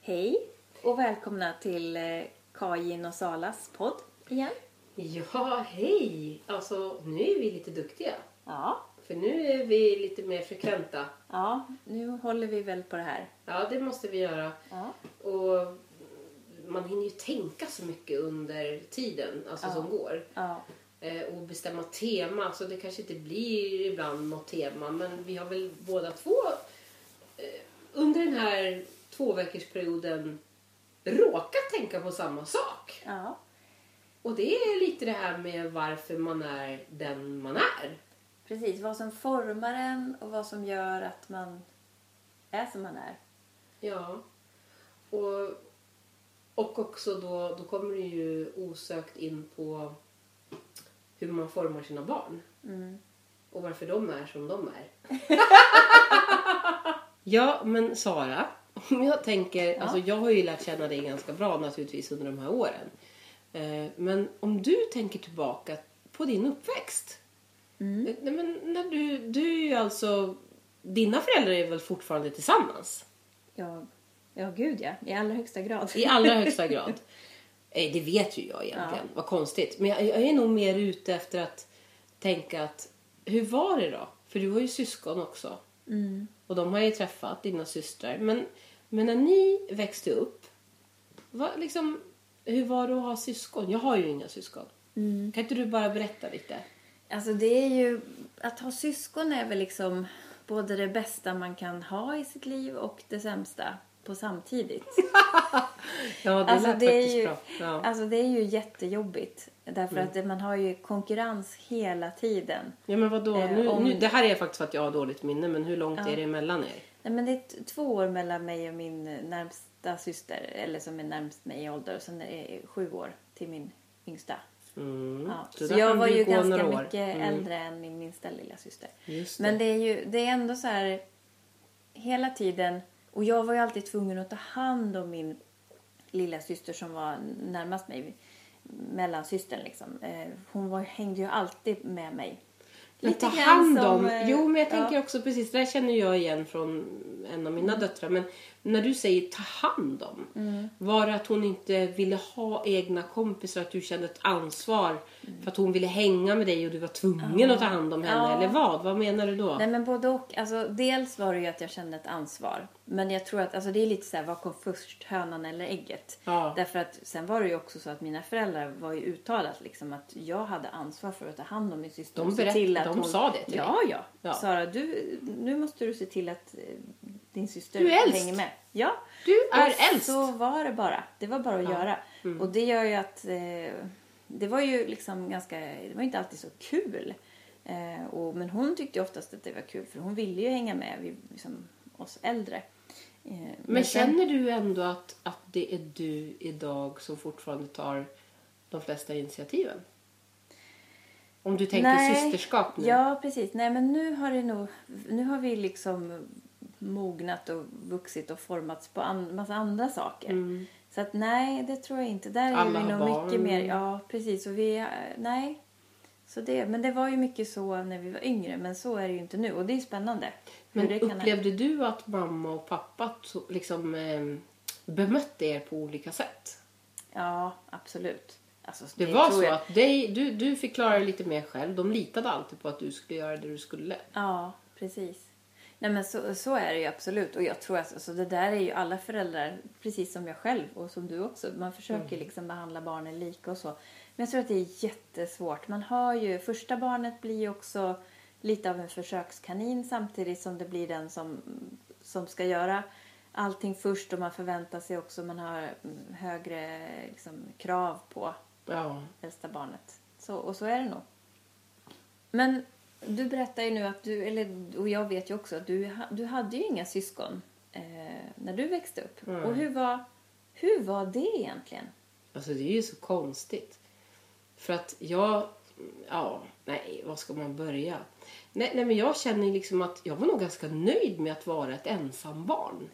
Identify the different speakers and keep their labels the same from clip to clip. Speaker 1: Hej och välkomna till eh, Kajin och Salas podd igen.
Speaker 2: Ja, hej! Alltså, nu är vi lite duktiga.
Speaker 1: Ja,
Speaker 2: För nu är vi lite mer frekventa.
Speaker 1: ja nu håller vi väl på det här.
Speaker 2: Ja, det måste vi göra.
Speaker 1: Ja.
Speaker 2: Och man hinner ju tänka så mycket under tiden, alltså
Speaker 1: Ja.
Speaker 2: som går.
Speaker 1: Ja,
Speaker 2: Eh, och bestämma tema, så det kanske inte blir ibland något tema. Men vi har väl båda två eh, under den här tvåveckorsperioden råkat tänka på samma sak.
Speaker 1: ja,
Speaker 2: Och det är lite det här med varför man är den man är.
Speaker 1: precis. Vad som formar en och vad som gör att man är som man är.
Speaker 2: Ja. Och, och också då, då kommer du ju osökt in på hur man formar sina barn.
Speaker 1: Mm.
Speaker 2: Och varför de är som de är. ja, men Sara. Om jag tänker, alltså jag har ju lärt känna dig ganska bra naturligtvis under de här åren. Eh, Men om du tänker tillbaka på din uppväxt. Eh, Nej, men när du, du är ju alltså, dina föräldrar är väl fortfarande tillsammans?
Speaker 1: Ja, ja, gud ja. I allra högsta grad.
Speaker 2: I allra högsta grad. Eh, Det vet ju jag egentligen. Vad konstigt. Men jag, jag är nog mer ute efter att tänka att hur var det då? För du har ju syskon också.
Speaker 1: Mm.
Speaker 2: Och de har ju träffat dina systrar. Men, men när ni växte upp, vad, liksom, hur var det att ha syskon? Jag har ju inga syskon.
Speaker 1: Mm.
Speaker 2: Kan inte du bara berätta lite?
Speaker 1: Alltså det är ju, att ha syskon är väl liksom både det bästa man kan ha i sitt liv och det sämsta på samtidigt.
Speaker 2: Ja, det
Speaker 1: Alltså
Speaker 2: lät
Speaker 1: det, är
Speaker 2: faktiskt
Speaker 1: ju,
Speaker 2: bra. Ja. Mm.
Speaker 1: alltså det är ju jättejobbigt. Därför att det- man har ju konkurrens hela tiden.
Speaker 2: ja, men vadå?
Speaker 1: eh,
Speaker 2: nu,
Speaker 1: om-
Speaker 2: nu, det här är faktiskt för att jag har dåligt minne, men hur långt är det emellan er?
Speaker 1: Nej, men det är t- två år mellan mig och min närmsta syster, eller som är närmst mig i ålder. Och sen är det sju år till min yngsta.
Speaker 2: Mm.
Speaker 1: Ja. Så,
Speaker 2: där
Speaker 1: jag
Speaker 2: kan
Speaker 1: var
Speaker 2: vi
Speaker 1: ju
Speaker 2: gå
Speaker 1: ganska
Speaker 2: några år. Mm.
Speaker 1: mycket äldre än min minsta lilla syster.
Speaker 2: Just det.
Speaker 1: Men det är ju det är ändå så här hela tiden. Och jag var ju alltid tvungen att ta hand om min lilla syster som var närmast mig. Mellansystern liksom. Eh, Hon var, hängde ju alltid med mig.
Speaker 2: Men ta
Speaker 1: grann
Speaker 2: hand
Speaker 1: som,
Speaker 2: om.
Speaker 1: eh,
Speaker 2: jo, men jag
Speaker 1: ja.
Speaker 2: tänker också precis, det där känner jag igen från en av mina
Speaker 1: Mm.
Speaker 2: döttrar. Men när du säger ta hand om, var det att hon inte ville ha egna kompisar, att du kände ett ansvar för att hon ville hänga med dig och du var tvungen att ta hand om henne?
Speaker 1: Mm. Ja.
Speaker 2: Eller vad? Vad menar du då?
Speaker 1: Nej men både och. Alltså, dels var det ju att jag kände ett ansvar. Men jag tror att alltså, det är lite så här, vad kom först, hönan eller ägget?
Speaker 2: Ja.
Speaker 1: Därför att sen var det ju också så att mina föräldrar var ju uttalat liksom att jag hade ansvar för att ta hand om min syster.
Speaker 2: De
Speaker 1: och se
Speaker 2: berätt-
Speaker 1: till att
Speaker 2: de
Speaker 1: hon...
Speaker 2: sa det till dig.
Speaker 1: Ja, ja.
Speaker 2: Ja.
Speaker 1: Sara, du, nu måste du se till att eh, din syster
Speaker 2: Du är äldst.
Speaker 1: hänger med. Ja.
Speaker 2: Du är
Speaker 1: Och
Speaker 2: äldst. Mm.
Speaker 1: Så var det bara. Det var bara att göra. Och det gör ju att eh, det var ju liksom ganska, det var inte alltid så kul. Eh, och, men hon tyckte ju oftast att det var kul för hon ville ju hänga med vi, liksom, oss äldre. Eh, sen-
Speaker 2: Men känner du ändå att, att det är du idag som fortfarande tar de flesta initiativen? Om du tänker systerskap nu.
Speaker 1: Ja, precis. Nej, men nu har, det nog, nu har vi liksom mognat och vuxit och formats på en massa andra saker. Så att nej, det tror jag inte. Där
Speaker 2: Mm. Alla
Speaker 1: är vi
Speaker 2: har
Speaker 1: nog
Speaker 2: barn.
Speaker 1: mycket mer... Ja, precis. Och vi, eh, nej. Så det, men det var ju mycket så när vi var yngre, men så är det ju inte nu. Och det är spännande. hur
Speaker 2: Men
Speaker 1: det kan-
Speaker 2: upplevde du att mamma och pappa to, liksom, eh, bemötte er på olika sätt?
Speaker 1: Ja, absolut. Alltså,
Speaker 2: Det, var
Speaker 1: tror
Speaker 2: så
Speaker 1: jag-
Speaker 2: att dig, du, du fick klara dig lite mer själv. De litade alltid på att du skulle göra det du skulle.
Speaker 1: Ja, precis. Nej men så, så är det ju absolut. Och jag tror att alltså, det där är ju alla föräldrar, precis som jag själv och som du också. Man försöker liksom behandla barnen lika och så. Men jag tror att det är jättesvårt. Man har ju, första barnet blir ju också lite av en försökskanin samtidigt som det blir den som, som ska göra allting först och man förväntar sig också, man har mm, högre liksom, krav på
Speaker 2: Ja.
Speaker 1: äldsta barnet. Så, och så är det nog. Men du berättar ju nu att du, eller, och jag vet ju också att du, ha- du hade ju inga syskon eh, när du växte upp.
Speaker 2: Mm.
Speaker 1: Och hur var, hur var det egentligen?
Speaker 2: Alltså det är ju så konstigt. För att jag... Ja, nej, var ska man börja? Nej, nej men jag känner ju liksom att jag var nog ganska nöjd med att vara ett ensambarn.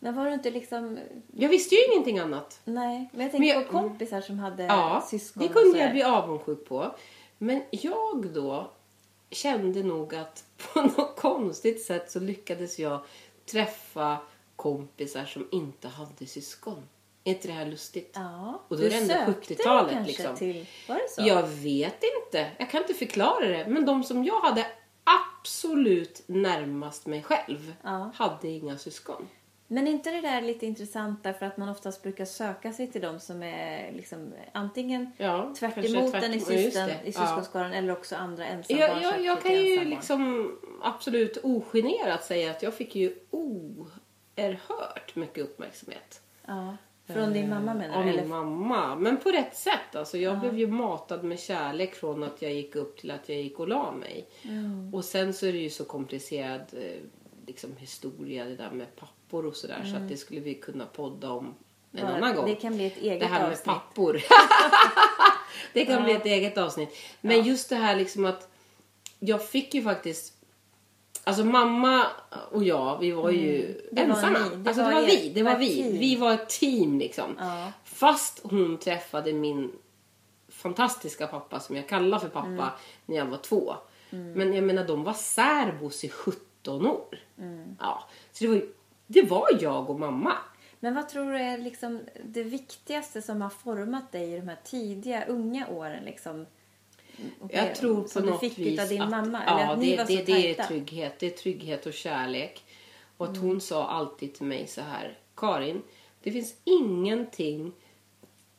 Speaker 1: Men var du inte liksom,
Speaker 2: Jag visste ju ingenting annat.
Speaker 1: nej, men jag
Speaker 2: Men
Speaker 1: tänker
Speaker 2: jag-
Speaker 1: på kompisar som hade
Speaker 2: Ja,
Speaker 1: syskon.
Speaker 2: det
Speaker 1: och
Speaker 2: kunde
Speaker 1: sådär.
Speaker 2: jag bli avundsjuk på. Men jag då kände nog att på något konstigt sätt så lyckades jag träffa kompisar som inte hade syskon. Är inte det här lustigt?
Speaker 1: Ja.
Speaker 2: Och då är det ändå
Speaker 1: sökte
Speaker 2: 70-talet,
Speaker 1: kanske
Speaker 2: liksom.
Speaker 1: Till, var det så?
Speaker 2: Jag vet inte. Jag kan inte förklara det. Men de som jag hade absolut närmast mig själv
Speaker 1: Ja.
Speaker 2: hade inga syskon.
Speaker 1: Men är inte det där lite intressant därför att man oftast brukar söka sig till de som är liksom antingen
Speaker 2: Ja,
Speaker 1: tvärt
Speaker 2: kanske
Speaker 1: emot
Speaker 2: tvärt-
Speaker 1: en i,
Speaker 2: ja, just
Speaker 1: syskon,
Speaker 2: det.
Speaker 1: i
Speaker 2: Ja.
Speaker 1: syskonskaran eller också andra ensambarn.
Speaker 2: Jag,
Speaker 1: söker
Speaker 2: jag, jag
Speaker 1: till
Speaker 2: kan ju
Speaker 1: ensambarn.
Speaker 2: liksom absolut ogenerat säga att jag fick ju oerhört mycket uppmärksamhet.
Speaker 1: Ja. Från din mamma menar
Speaker 2: Av
Speaker 1: du?
Speaker 2: min
Speaker 1: Eller
Speaker 2: mamma. Men på rätt sätt. Alltså, jag blev ju matad med kärlek från att jag gick upp till att jag gick och la mig. Och sen så är det ju så komplicerad eh, liksom, historia det där med pappor och sådär. Så att det skulle vi kunna podda om en
Speaker 1: bara-
Speaker 2: annan gång.
Speaker 1: Mm. Det kan bli ett eget
Speaker 2: det här med
Speaker 1: avsnitt.
Speaker 2: pappor. det kan bli ett eget avsnitt. Men just det här liksom att jag fick ju faktiskt Alltså mamma och jag, vi var ju
Speaker 1: Mm. Det var
Speaker 2: ensamma.
Speaker 1: ni. Det
Speaker 2: alltså,
Speaker 1: var
Speaker 2: det var
Speaker 1: er-
Speaker 2: vi. Det var
Speaker 1: ett
Speaker 2: vi.
Speaker 1: team.
Speaker 2: vi var ett team liksom.
Speaker 1: Ja.
Speaker 2: Fast hon träffade min fantastiska pappa som jag kallar för pappa
Speaker 1: Mm.
Speaker 2: när jag var två. Men jag menar de var särbos i 17 år.
Speaker 1: Mm.
Speaker 2: Ja, så det var, ju- det var jag och mamma.
Speaker 1: Men vad tror du är liksom det viktigaste som har format dig i de här tidiga, unga åren? Liksom? Och
Speaker 2: Jag
Speaker 1: det-
Speaker 2: tror på
Speaker 1: som
Speaker 2: något
Speaker 1: du fick
Speaker 2: vis
Speaker 1: utav din
Speaker 2: att,
Speaker 1: mamma?
Speaker 2: ja,
Speaker 1: eller att ni
Speaker 2: det,
Speaker 1: var
Speaker 2: det,
Speaker 1: så
Speaker 2: det är
Speaker 1: tajta? Mm.
Speaker 2: trygghet. Det är trygghet och kärlek. Och att hon sa alltid till mig så här, Karin, det finns ingenting,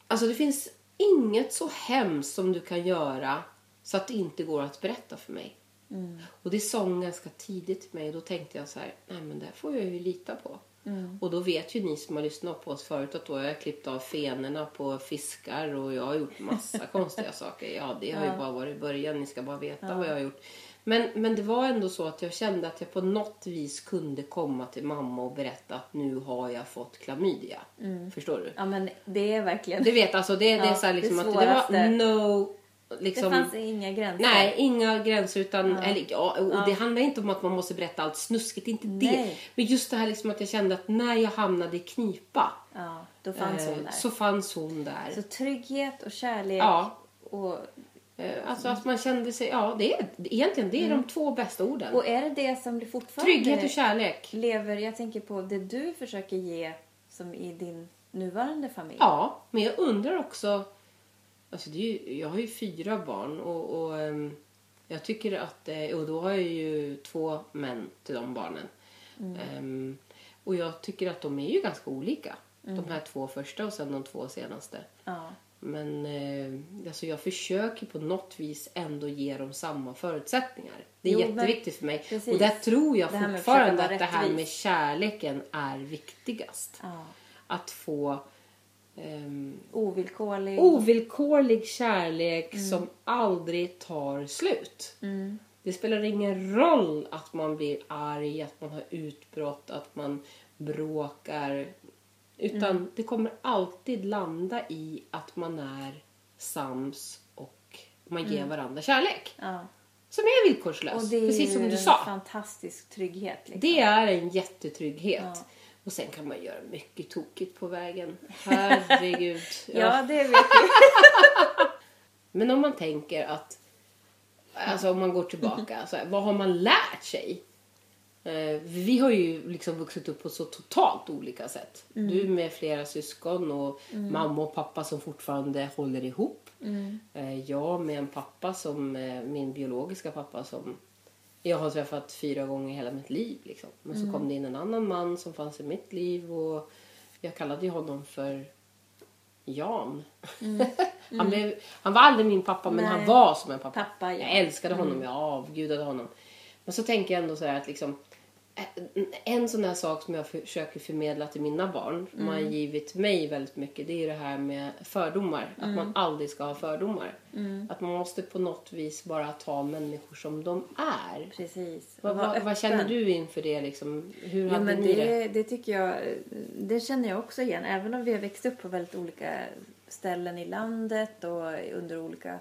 Speaker 2: alltså det finns inget så hemskt som du kan göra så att det inte går att berätta för mig. Och det sa hon ganska tidigt till mig och då tänkte jag så här, nej men det här får jag ju lita på. Och då vet ju ni som har lyssnat på oss förut att då har jag klippt av fenorna på fiskar och jag har gjort massa konstiga saker. Ja, det har ju bara varit i början, ni ska bara veta vad jag har gjort. Men, men det var ändå så att jag kände att jag på något vis kunde komma till mamma och berätta att nu har jag fått klamydia. Förstår du?
Speaker 1: Ja, men det är verkligen...
Speaker 2: Du vet, alltså det, det
Speaker 1: Ja,
Speaker 2: är så här liksom
Speaker 1: det
Speaker 2: att det var
Speaker 1: svåraste.
Speaker 2: no...
Speaker 1: det
Speaker 2: Liksom,
Speaker 1: fanns inga gränser.
Speaker 2: Nej, inga gränser. Utan, eller, ja, och Det handlar inte om att man måste berätta allt snuskigt. Inte det.
Speaker 1: Nej.
Speaker 2: Men just det här liksom att jag kände att när jag hamnade i knipa
Speaker 1: Ja, då fanns
Speaker 2: eh,
Speaker 1: hon där.
Speaker 2: så fanns hon där.
Speaker 1: Så trygghet och kärlek
Speaker 2: Ja.
Speaker 1: och,
Speaker 2: Eh, Alltså att man kände sig... Ja, det är, egentligen det är de två bästa orden.
Speaker 1: Mm. och är det det som du fortfarande
Speaker 2: Trygghet och kärlek.
Speaker 1: lever, jag tänker på det du försöker ge som i din nuvarande familj.
Speaker 2: Ja, men jag undrar också... Alltså det är ju, jag har ju fyra barn och, och ehm, jag tycker att... eh, Och då har jag ju två män till de barnen.
Speaker 1: Mm.
Speaker 2: Ehm, och jag tycker att de är ju ganska olika.
Speaker 1: Mm.
Speaker 2: De här två första och sen de två senaste.
Speaker 1: Ja.
Speaker 2: Men eh, alltså jag försöker på något vis ändå ge dem samma förutsättningar. Det är
Speaker 1: Jo, men-
Speaker 2: jätteviktigt för mig.
Speaker 1: precis.
Speaker 2: Och där tror jag
Speaker 1: Det här med att
Speaker 2: fortfarande
Speaker 1: försöka
Speaker 2: att
Speaker 1: vara
Speaker 2: det här med
Speaker 1: rättvis.
Speaker 2: kärleken är viktigast.
Speaker 1: Ja.
Speaker 2: Att få ehm,
Speaker 1: Ovillkorlig.
Speaker 2: Oh! ovillkorlig kärlek
Speaker 1: Mm.
Speaker 2: som aldrig tar slut. Det spelar ingen roll att man blir arg, att man har utbrott, att man bråkar. Utan
Speaker 1: Mm.
Speaker 2: det kommer alltid landa i att man är sams och man ger varandra kärlek.
Speaker 1: Ja.
Speaker 2: Som är villkorslös,
Speaker 1: Mm. Och det är
Speaker 2: Alltså, precis som
Speaker 1: ju
Speaker 2: du
Speaker 1: en
Speaker 2: sa.
Speaker 1: fantastisk trygghet. Liksom.
Speaker 2: Det är en jättetrygghet.
Speaker 1: Ja.
Speaker 2: Och sen kan man göra mycket tokigt på vägen. Herregud.
Speaker 1: Ja, det vet jag.
Speaker 2: Men om man tänker att, alltså om man går tillbaka, så här, vad har man lärt sig? Eh, vi har ju liksom vuxit upp på så totalt olika sätt. Du med flera syskon och mamma och pappa som fortfarande håller ihop. Eh, jag med en pappa som, eh, min biologiska pappa som jag har träffat fyra gånger i hela mitt liv. Liksom. Men så kom det in en annan man som fanns i mitt liv och jag kallade ju honom för Jan. han, blev, han var aldrig min pappa men
Speaker 1: Nej.
Speaker 2: han var som en pappa.
Speaker 1: Pappa, ja.
Speaker 2: Jag älskade honom,
Speaker 1: Mm.
Speaker 2: jag avgudade honom. Men så tänker jag ändå så här att liksom en- en sån här sak som jag försöker förmedla till mina barn, som har
Speaker 1: Mm.
Speaker 2: givit mig väldigt mycket, det är det här med fördomar. Att
Speaker 1: Mm.
Speaker 2: man aldrig ska ha fördomar. Att man måste på något vis bara ta människor som de är.
Speaker 1: Precis. Och
Speaker 2: Vad,
Speaker 1: vara
Speaker 2: vad, vad
Speaker 1: öppen.
Speaker 2: känner du inför det? Liksom? Hur
Speaker 1: Ja,
Speaker 2: hade
Speaker 1: men
Speaker 2: ni det?
Speaker 1: det, det tycker jag, det känner jag också igen. Även om vi har växt upp på väldigt olika ställen i landet och under olika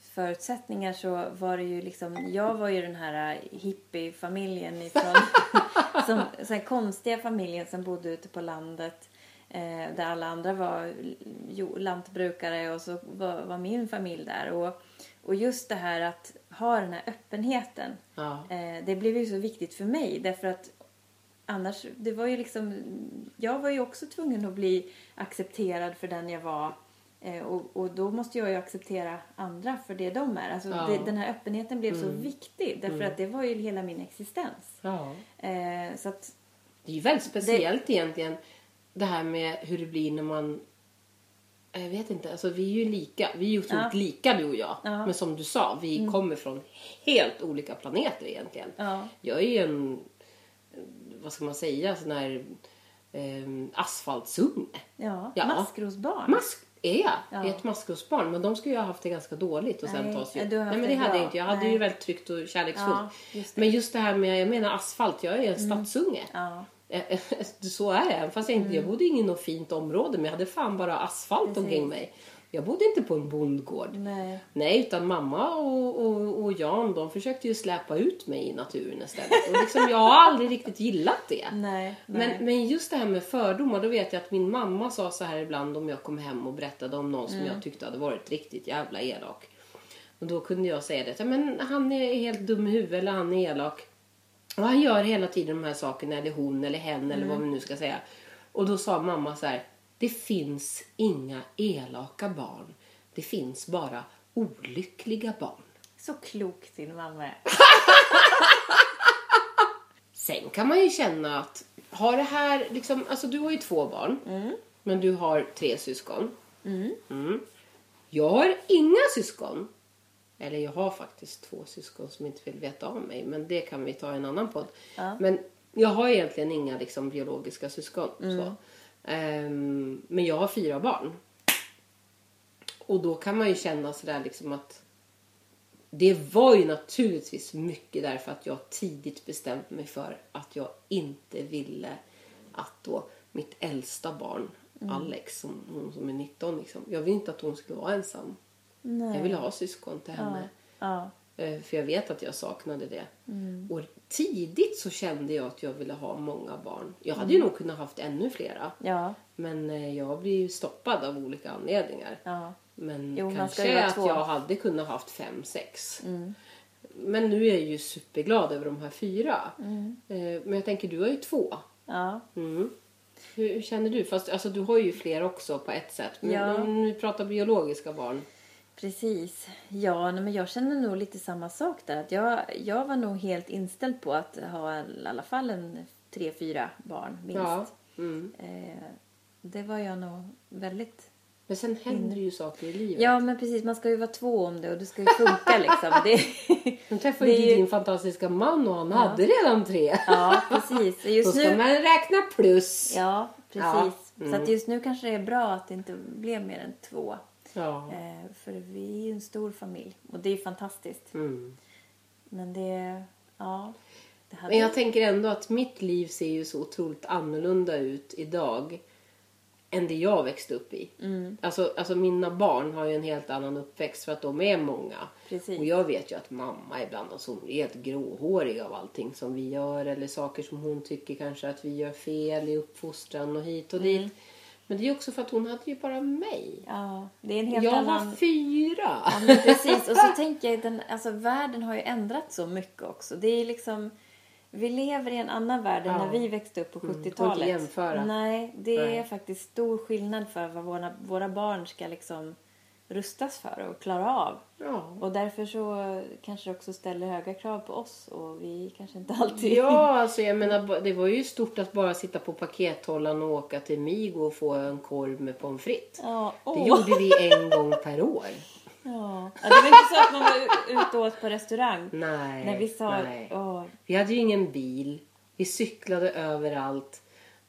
Speaker 1: förutsättningar så var det ju liksom, jag var ju den här hippiefamiljen ifrån, som, så här konstiga familjen som bodde ute på landet. Eh, där alla andra var jo, lantbrukare och så var, var min familj där. Och, och just det här att ha den här öppenheten.
Speaker 2: Ja.
Speaker 1: Eh, det blev ju så viktigt för mig därför att annars, det var ju liksom, jag var ju också tvungen att bli accepterad för den jag var. Eh, och, och då måste jag ju acceptera andra för det de är. Alltså,
Speaker 2: Ja.
Speaker 1: det, den här öppenheten blev så
Speaker 2: Mm.
Speaker 1: viktig därför att det var ju hela min existens.
Speaker 2: Ja.
Speaker 1: Eh, så att,
Speaker 2: Det är ju väldigt speciellt egentligen det här med hur det blir när man... Jag vet inte, alltså vi är ju lika. Vi är ju otroligt
Speaker 1: Ja.
Speaker 2: lika du och jag.
Speaker 1: Ja. Mm.
Speaker 2: Men som du sa, vi kommer från helt olika planeter egentligen.
Speaker 1: ja,
Speaker 2: Jag är ju en, vad ska man säga, sån här eh, asfaltsunge.
Speaker 1: ja,
Speaker 2: Ja.
Speaker 1: maskrosbarn.
Speaker 2: Mask är jag,
Speaker 1: Ja.
Speaker 2: är ett maskrosbarn. Men de skulle ju ha haft det ganska dåligt och sen
Speaker 1: Nej,
Speaker 2: tas
Speaker 1: ja,
Speaker 2: ju.
Speaker 1: du har
Speaker 2: Nej
Speaker 1: haft
Speaker 2: men det
Speaker 1: det
Speaker 2: hade
Speaker 1: bra.
Speaker 2: jag inte. Jag hade
Speaker 1: Nej.
Speaker 2: ju väldigt tryggt och kärleksfullt.
Speaker 1: Ja, just det. Mm.
Speaker 2: men just det här med, jag menar asfalt, jag är en stadsunge.
Speaker 1: ja,
Speaker 2: Eh, Så är det. Även Fast jag, inte, jag bodde inte i något fint område men jag hade fan bara asfalt
Speaker 1: Precis.
Speaker 2: omkring mig. Jag bodde inte på en bondgård.
Speaker 1: nej.
Speaker 2: Nej, utan mamma och, och, och Jan de försökte ju släpa ut mig i naturen istället. Och liksom, jag har aldrig riktigt gillat det.
Speaker 1: Nej, nej.
Speaker 2: Men, men just det här med fördomar, då vet jag att min mamma sa så här ibland om jag kom hem och berättade om någon som jag tyckte hade varit riktigt jävla elak. Och då kunde jag säga det, "Ja, men han är helt dum i huvudet eller han är elak. Och han gör hela tiden de här sakerna, eller hon eller hen eller vad vi nu ska säga. Och då sa mamma så här, det finns inga elaka barn. Det finns bara olyckliga barn.
Speaker 1: Så klok din mamma är.
Speaker 2: Sen kan man ju känna att har det här liksom, alltså du har ju två barn. Men du har tre syskon. Mm. Jag har inga syskon. Eller jag har faktiskt två syskon som inte vill veta om mig. Men det kan vi ta i en annan podd.
Speaker 1: Ja.
Speaker 2: Men jag har egentligen inga liksom, biologiska syskon. Så. Ehm, men jag har fyra barn. Och då kan man ju känna sådär liksom att det var ju naturligtvis mycket därför att jag tidigt bestämt mig för att jag inte ville att då mitt äldsta barn
Speaker 1: Mm.
Speaker 2: Alex, som, hon som är 19, liksom, jag ville inte att hon skulle vara ensam.
Speaker 1: Nej.
Speaker 2: Jag ville ha syskon till
Speaker 1: ja.
Speaker 2: henne.
Speaker 1: ja,
Speaker 2: Eh, För jag vet att jag saknade det.
Speaker 1: Mm.
Speaker 2: Och tidigt så kände jag att jag ville ha många barn. Jag hade ju nog kunnat haft ännu flera.
Speaker 1: Mm. ja,
Speaker 2: Men eh, jag blev ju stoppad av olika anledningar.
Speaker 1: ja.
Speaker 2: Men
Speaker 1: Jo, man ska ju
Speaker 2: kanske
Speaker 1: vara
Speaker 2: att
Speaker 1: två. Mm.
Speaker 2: jag hade kunnat haft fem, sex. Men nu är jag ju superglad över de här fyra.
Speaker 1: Mm.
Speaker 2: Eh, Men jag tänker, du har ju två.
Speaker 1: ja.
Speaker 2: Mm. Hur, hur känner du? Fast alltså, du har ju fler också på ett sätt. Men
Speaker 1: Ja.
Speaker 2: om vi pratar biologiska barn.
Speaker 1: Precis. Ja, nej, men jag känner nog lite samma sak där. Att jag, jag var nog helt inställd på att ha i alla fall en tre, fyra barn minst.
Speaker 2: Ja. Mm.
Speaker 1: Eh, det var jag nog väldigt...
Speaker 2: Men sen
Speaker 1: Mm.
Speaker 2: händer ju saker i livet.
Speaker 1: Ja, men precis. Man ska ju vara två om det och det ska ju funka liksom. Det...
Speaker 2: Nu träffade ju
Speaker 1: Det är ju-
Speaker 2: din fantastiska man och han hade redan tre.
Speaker 1: Ja, precis. Så
Speaker 2: Då
Speaker 1: Just
Speaker 2: ska
Speaker 1: nu...
Speaker 2: man räkna plus.
Speaker 1: Ja,
Speaker 2: Ja, Mm.
Speaker 1: precis. Så att just nu kanske det är bra att det inte blev mer än två.
Speaker 2: Ja.
Speaker 1: Eh, för vi är ju en stor familj och det är ju fantastiskt.
Speaker 2: Mm.
Speaker 1: Men det... Ja. Det hade...
Speaker 2: Men jag tänker ändå att mitt liv ser ju så otroligt annorlunda ut idag än det jag växte upp i.
Speaker 1: Mm.
Speaker 2: Alltså, alltså mina barn har ju en helt annan uppväxt för att de är många.
Speaker 1: Precis.
Speaker 2: Och jag vet ju att mamma ibland alltså hon är helt gråhårig av allting som vi gör eller saker som hon tycker kanske att vi gör fel i uppfostran och hit och
Speaker 1: Mm.
Speaker 2: dit. Men det är ju också för att hon hade ju bara mig.
Speaker 1: Ja, det är en helt
Speaker 2: jag
Speaker 1: annan...
Speaker 2: var fyra!
Speaker 1: Ja, men precis. Och så tänker jag, den, alltså världen har ju ändrats så mycket också. Det är liksom, vi lever i en annan värld än
Speaker 2: Ja.
Speaker 1: när vi växte upp på
Speaker 2: går inte
Speaker 1: 70-talet.
Speaker 2: att jämföra.
Speaker 1: Nej, det
Speaker 2: Nej.
Speaker 1: är faktiskt stor skillnad för vad våra, våra barn ska liksom rustas för och klara av.
Speaker 2: Ja.
Speaker 1: Och därför så kanske det också ställer höga krav på oss och vi kanske inte alltid...
Speaker 2: Ja, alltså jag menar, ba- det var ju stort att bara sitta på pakethållaren och åka till Migo och få en korv med pommes frites.
Speaker 1: Ja,
Speaker 2: Det
Speaker 1: åh.
Speaker 2: gjorde vi en gång per år.
Speaker 1: ja. ja, det var inte så att man var u- ute och åt på restaurang.
Speaker 2: Nej,
Speaker 1: när vi sa...
Speaker 2: nej.
Speaker 1: Åh,
Speaker 2: Vi hade ju ingen bil. Vi cyklade överallt.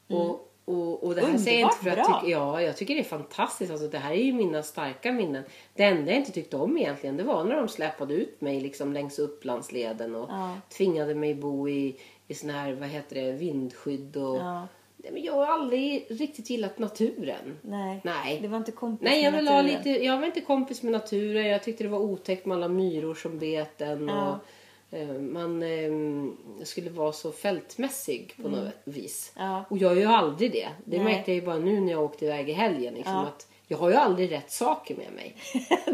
Speaker 2: Och, och, och det här säger jag inte för att
Speaker 1: Mm. Underbart
Speaker 2: tycka, ja, jag tycker det är fantastiskt. Alltså, det här är ju mina starka minnen. Det enda jag inte tyckte om egentligen det var när de släpade ut mig liksom längs Upplandsleden och
Speaker 1: Ja.
Speaker 2: tvingade mig bo i, i sån här, vad heter det, vindskydd och...
Speaker 1: Ja.
Speaker 2: Nej, men jag har aldrig riktigt gillat naturen.
Speaker 1: nej.
Speaker 2: Nej.
Speaker 1: Det var inte kompis
Speaker 2: Nej, jag
Speaker 1: med
Speaker 2: vill ha
Speaker 1: naturen.
Speaker 2: lite, jag var inte kompis med naturen. Jag tyckte det var otäckt med alla myror som bet en.
Speaker 1: Ja.
Speaker 2: Och, eh, man eh, skulle vara så fältmässig på något vis.
Speaker 1: Mm. Ja.
Speaker 2: Och jag är ju aldrig det. Det
Speaker 1: Nej.
Speaker 2: märkte jag ju bara nu när jag åkte iväg i helgen. Liksom,
Speaker 1: Ja.
Speaker 2: att jag har ju aldrig rätt saker med mig.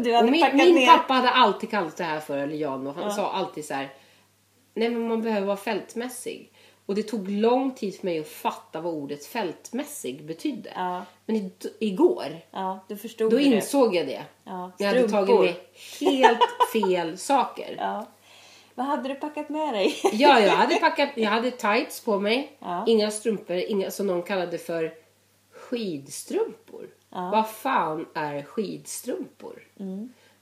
Speaker 1: Du
Speaker 2: Och
Speaker 1: hade
Speaker 2: min
Speaker 1: packat
Speaker 2: min
Speaker 1: ner.
Speaker 2: pappa hade alltid kallat det här för, eller Jan, och han
Speaker 1: Ja.
Speaker 2: sa alltid så här. Nej men man behöver vara fältmässig. Och det tog lång tid för mig att fatta vad ordet fältmässig betydde.
Speaker 1: Ja.
Speaker 2: Men i, igår,
Speaker 1: Ja, du förstod
Speaker 2: då
Speaker 1: det.
Speaker 2: insåg jag det.
Speaker 1: Ja,
Speaker 2: jag hade tagit
Speaker 1: strumpor.
Speaker 2: med helt fel saker.
Speaker 1: Ja. Vad hade du packat med dig?
Speaker 2: Ja, jag hade packat, jag hade tights på mig,
Speaker 1: Ja.
Speaker 2: inga strumpor, inga, som någon kallade för skidstrumpor.
Speaker 1: Ja. Mm.
Speaker 2: Vad fan är skidstrumpor?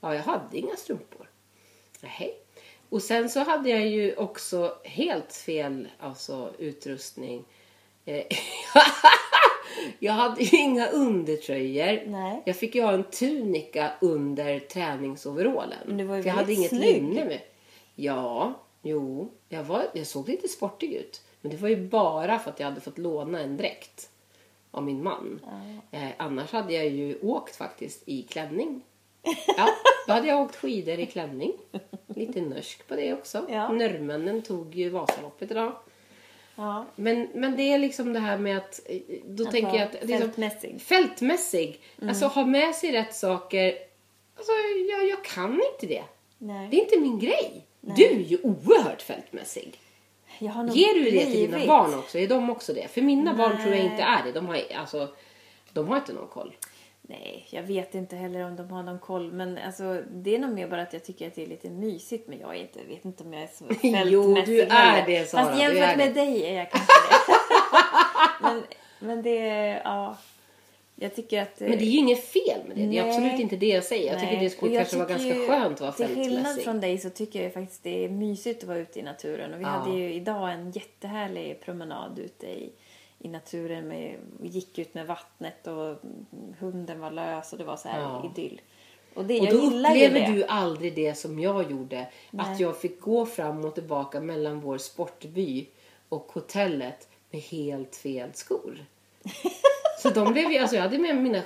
Speaker 2: Ja, jag hade inga strumpor. Nej. Och sen så hade jag ju också helt fel alltså, utrustning. Eh, jag hade ju inga undertröjor.
Speaker 1: Nej.
Speaker 2: Jag fick ju ha en tunika under träningsoverallen.
Speaker 1: Men du var ju
Speaker 2: För jag hade
Speaker 1: väldigt
Speaker 2: inget
Speaker 1: snygg.
Speaker 2: linne med. Ja, jo. Jag, var, jag såg lite sportig ut. Men det var ju bara för att jag hade fått låna en dräkt av min man. Eh, annars hade jag ju åkt faktiskt i klänning. Ja, då hade jag åkt skidor i klänning. Lite norsk på det också.
Speaker 1: Ja.
Speaker 2: Norrmännen tog ju Vasaloppet idag.
Speaker 1: Ja.
Speaker 2: Men, men det är liksom det här med att, eh, då
Speaker 1: Att
Speaker 2: tänker
Speaker 1: vara
Speaker 2: jag att... det är som-
Speaker 1: fältmässig. Mm.
Speaker 2: Fältmässig. Alltså ha med sig rätt saker. Alltså jag, jag kan inte det.
Speaker 1: Nej.
Speaker 2: Det är inte min grej. Du är ju oerhört fältmässig.
Speaker 1: Jag har nog
Speaker 2: Ger du det till dina
Speaker 1: blivit-
Speaker 2: barn också? Är de också det? För mina barn tror jag
Speaker 1: Nej.
Speaker 2: inte är det. De har, alltså, de har inte någon koll.
Speaker 1: Nej, jag vet inte heller om de har någon koll. Men alltså, det är nog mer bara att jag tycker att det är lite mysigt. Men jag är inte, vet inte om jag är så fältmässig
Speaker 2: Jo, du är
Speaker 1: heller.
Speaker 2: det, Sara,
Speaker 1: Fast
Speaker 2: du
Speaker 1: jämfört
Speaker 2: är
Speaker 1: med
Speaker 2: det.
Speaker 1: dig är jag kanske det. men, men det, ja. Jag tycker att...
Speaker 2: Men det är ju inget fel med det. Det är
Speaker 1: Nej.
Speaker 2: absolut inte det jag säger. Jag tycker det skulle
Speaker 1: och jag
Speaker 2: kanske vara
Speaker 1: tycker
Speaker 2: ganska
Speaker 1: ju-
Speaker 2: skönt att vara
Speaker 1: Till skillnad
Speaker 2: fältmässig.
Speaker 1: från dig så tycker jag ju faktiskt det är mysigt att vara ute i naturen. Och vi
Speaker 2: Ja.
Speaker 1: hade ju idag en jättehärlig promenad ute i, i naturen. Med, och gick ut med vattnet och mm, hunden var lös och det var så här
Speaker 2: Ja.
Speaker 1: idyll. Och det,
Speaker 2: Och
Speaker 1: jag
Speaker 2: då
Speaker 1: gillar ju
Speaker 2: upplever
Speaker 1: det.
Speaker 2: du aldrig det som jag gjorde. Att jag fick gå fram och tillbaka mellan vår sportby och hotellet med helt fel skor. Så de blev ju, alltså jag hade med mig mina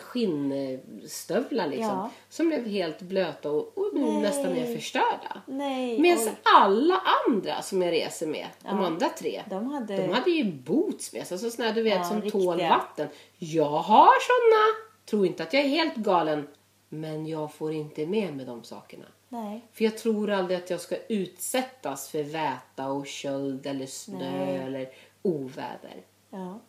Speaker 2: skinnstövlar liksom.
Speaker 1: Ja.
Speaker 2: Som blev helt blöta och, och nu nästan är förstörda.
Speaker 1: Nej,
Speaker 2: Medan
Speaker 1: oj.
Speaker 2: alla andra som jag reser med, de andra tre,
Speaker 1: De hade-
Speaker 2: de hade ju boots med sig. Alltså såna här, du vet
Speaker 1: Ja,
Speaker 2: som
Speaker 1: riktiga.
Speaker 2: tål vatten. Jag har såna. Tro inte att jag är helt galen. Men jag får inte med mig de sakerna.
Speaker 1: Nej.
Speaker 2: För jag tror aldrig att jag ska utsättas för väta och köld eller snö
Speaker 1: Nej.
Speaker 2: eller oväder.
Speaker 1: Ja.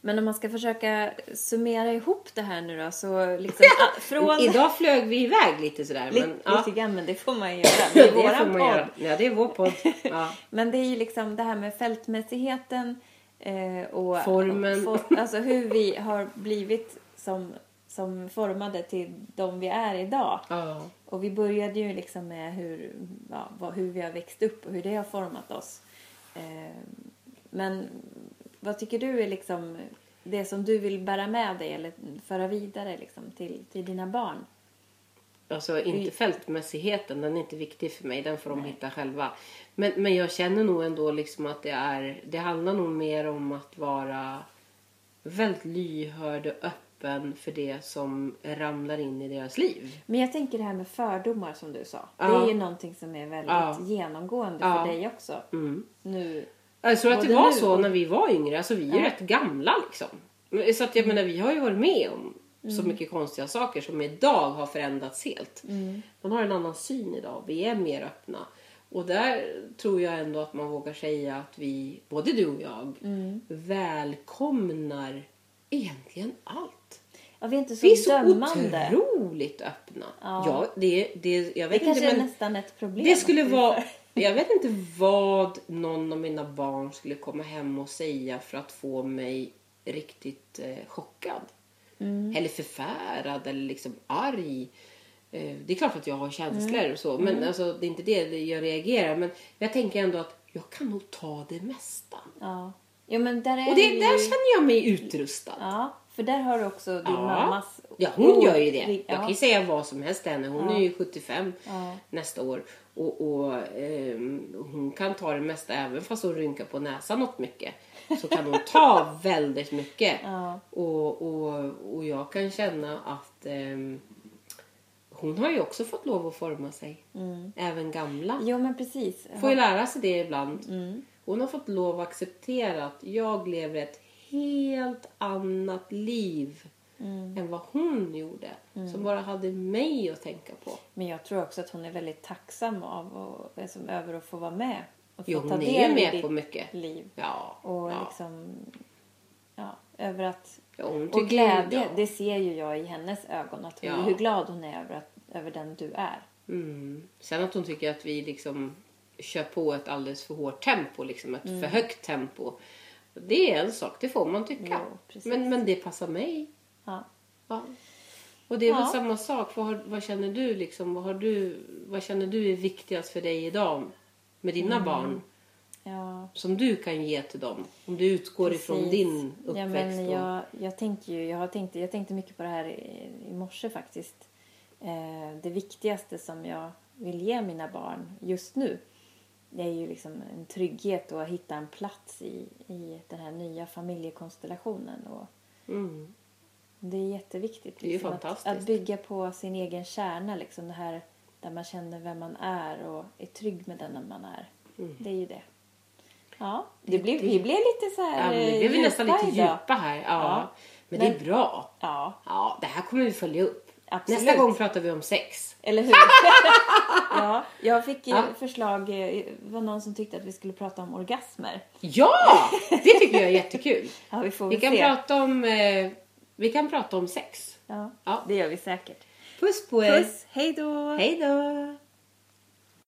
Speaker 1: Men om man ska försöka summera ihop det här nu då så liksom a- från...
Speaker 2: Idag flög vi iväg lite sådär.
Speaker 1: Lite,
Speaker 2: men, ja,
Speaker 1: lite grann, men det får man ju göra. Det är
Speaker 2: det
Speaker 1: våran
Speaker 2: får man
Speaker 1: podd.
Speaker 2: göra. Ja, det är vår podd. Ja.
Speaker 1: Men det är ju liksom det här med fältmässigheten eh, och
Speaker 2: Formen.
Speaker 1: och for, alltså hur vi har blivit som, som formade till de vi är idag.
Speaker 2: Ja.
Speaker 1: Och vi började ju liksom med hur, ja, vad, hur vi har växt upp och hur det har format oss. Eh, men vad tycker du är liksom det som du vill bära med dig eller föra vidare liksom till, till dina barn?
Speaker 2: Alltså inte fältmässigheten, den är inte viktig för mig, den får de hitta själva. Men, men jag känner nog ändå liksom att det är, det handlar nog mer om att vara väldigt lyhörd och öppen för det som ramlar in i deras liv.
Speaker 1: Men jag tänker det här med fördomar som du sa.
Speaker 2: Ja.
Speaker 1: Det är ju någonting som är väldigt
Speaker 2: Ja.
Speaker 1: genomgående
Speaker 2: Ja. Mm.
Speaker 1: för dig också. Nu.
Speaker 2: Jag tror att
Speaker 1: Både
Speaker 2: det var
Speaker 1: nu
Speaker 2: så
Speaker 1: och-
Speaker 2: när vi var yngre, alltså vi är ju rätt gamla liksom. Så att jag
Speaker 1: Mm.
Speaker 2: menar, vi har ju varit med om så mycket konstiga saker som idag har förändrats helt.
Speaker 1: Mm.
Speaker 2: Man har en annan syn idag, vi är mer öppna. Och där tror jag ändå att man vågar säga att vi, både du och jag,
Speaker 1: Mm.
Speaker 2: välkomnar egentligen allt.
Speaker 1: Ja, vi är inte så
Speaker 2: Vi är så
Speaker 1: dömande.
Speaker 2: otroligt öppna.
Speaker 1: Ja.
Speaker 2: Ja, det, det, jag
Speaker 1: det
Speaker 2: vet inte,
Speaker 1: kanske är
Speaker 2: men-
Speaker 1: nästan ett problem.
Speaker 2: det skulle vara... Jag vet inte vad någon av mina barn skulle komma hem och säga för att få mig riktigt eh, chockad. Eller förfärad eller liksom arg. Eh, det är klart att jag har känslor och så. Men alltså, det är inte det jag reagerar. Men jag tänker ändå att jag kan nog ta det mesta.
Speaker 1: Ja. Jo, men där är
Speaker 2: Och
Speaker 1: vi
Speaker 2: det,
Speaker 1: ju...
Speaker 2: där känner jag mig utrustad.
Speaker 1: Ja, för där har du också din
Speaker 2: Ja.
Speaker 1: mammas...
Speaker 2: Ja, hon gör ju det.
Speaker 1: Ja.
Speaker 2: Jag kan ju säga vad som helst till henne. Hon är ju 75
Speaker 1: Ja.
Speaker 2: nästa år. Och, och ehm, hon kan ta det mesta även fast hon rynkar på näsan något mycket. Så kan hon ta väldigt mycket.
Speaker 1: Ja.
Speaker 2: Och, och, och jag kan känna att ehm, hon har ju också fått lov att forma sig.
Speaker 1: Mm.
Speaker 2: Även gamla.
Speaker 1: Jo, men precis.
Speaker 2: Får ju lära sig det ibland.
Speaker 1: Mm.
Speaker 2: Hon har fått lov att acceptera att jag lever ett helt annat liv
Speaker 1: Mm.
Speaker 2: än vad hon gjorde. Som bara hade mig att tänka på.
Speaker 1: Men jag tror också alltså, att hon är väldigt tacksam av och, liksom, över att få vara med Och få
Speaker 2: Jo,
Speaker 1: ta
Speaker 2: hon är
Speaker 1: del
Speaker 2: ju
Speaker 1: i
Speaker 2: med
Speaker 1: ditt
Speaker 2: på mycket.
Speaker 1: liv.
Speaker 2: Ja.
Speaker 1: Och
Speaker 2: ja.
Speaker 1: liksom... Ja, över att...
Speaker 2: Ja, hon tycker
Speaker 1: Och
Speaker 2: ju-
Speaker 1: glädje,
Speaker 2: ja.
Speaker 1: det ser ju jag i hennes ögon. Att hon,
Speaker 2: Ja.
Speaker 1: Hur glad hon är över, att, över den du är.
Speaker 2: Mm. Sen att hon tycker att vi liksom kör på ett alldeles för hårt tempo, liksom ett
Speaker 1: Mm.
Speaker 2: för högt tempo. Det är en sak, det får man tycka.
Speaker 1: Jo, precis.
Speaker 2: men, men det passar mig.
Speaker 1: Ja.
Speaker 2: Ja. Och det är
Speaker 1: Ja.
Speaker 2: väl samma sak. Vad, har, vad känner du liksom? Vad, har du, vad känner du är viktigast för dig idag med dina
Speaker 1: Mm.
Speaker 2: barn?
Speaker 1: ja.
Speaker 2: Som du kan ge till dem? Om du utgår ifrån
Speaker 1: Precis.
Speaker 2: din
Speaker 1: Ja,
Speaker 2: uppväxt.
Speaker 1: men
Speaker 2: och-
Speaker 1: jag, jag, tänker ju, jag, har tänkt, jag tänkte mycket på det här i, i morse faktiskt. Eh, det viktigaste som jag vill ge mina barn just nu det är ju liksom en trygghet och att hitta en plats i, i den här nya familjekonstellationen. Och
Speaker 2: Mm.
Speaker 1: det är jätteviktigt. liksom
Speaker 2: Det är ju
Speaker 1: att,
Speaker 2: fantastiskt.
Speaker 1: att bygga på sin egen kärna, liksom det här där man känner vem man är och är trygg med den man är.
Speaker 2: Mm.
Speaker 1: Det är ju det. Ja, det blev, vi blev lite så
Speaker 2: Ja,
Speaker 1: här
Speaker 2: men
Speaker 1: eh,
Speaker 2: det är vi nästan lite
Speaker 1: idag.
Speaker 2: djupa här. Ja.
Speaker 1: Ja.
Speaker 2: Men,
Speaker 1: Men-
Speaker 2: det är bra.
Speaker 1: Ja,
Speaker 2: Ja, det här kommer vi följa upp.
Speaker 1: Absolut.
Speaker 2: Nästa gång pratar vi om sex.
Speaker 1: eller hur? ja, jag fick ju
Speaker 2: Ja.
Speaker 1: förslag, eh, det var någon som tyckte att vi skulle prata om orgasmer.
Speaker 2: Ja! Det tycker jag är jättekul.
Speaker 1: Ja, vi får
Speaker 2: Vi
Speaker 1: väl
Speaker 2: kan,
Speaker 1: se.
Speaker 2: prata om, eh, vi kan prata om sex.
Speaker 1: Ja,
Speaker 2: Ja.
Speaker 1: det gör vi säkert.
Speaker 2: Puss på er!
Speaker 1: Puss, hej då!
Speaker 2: Hej då!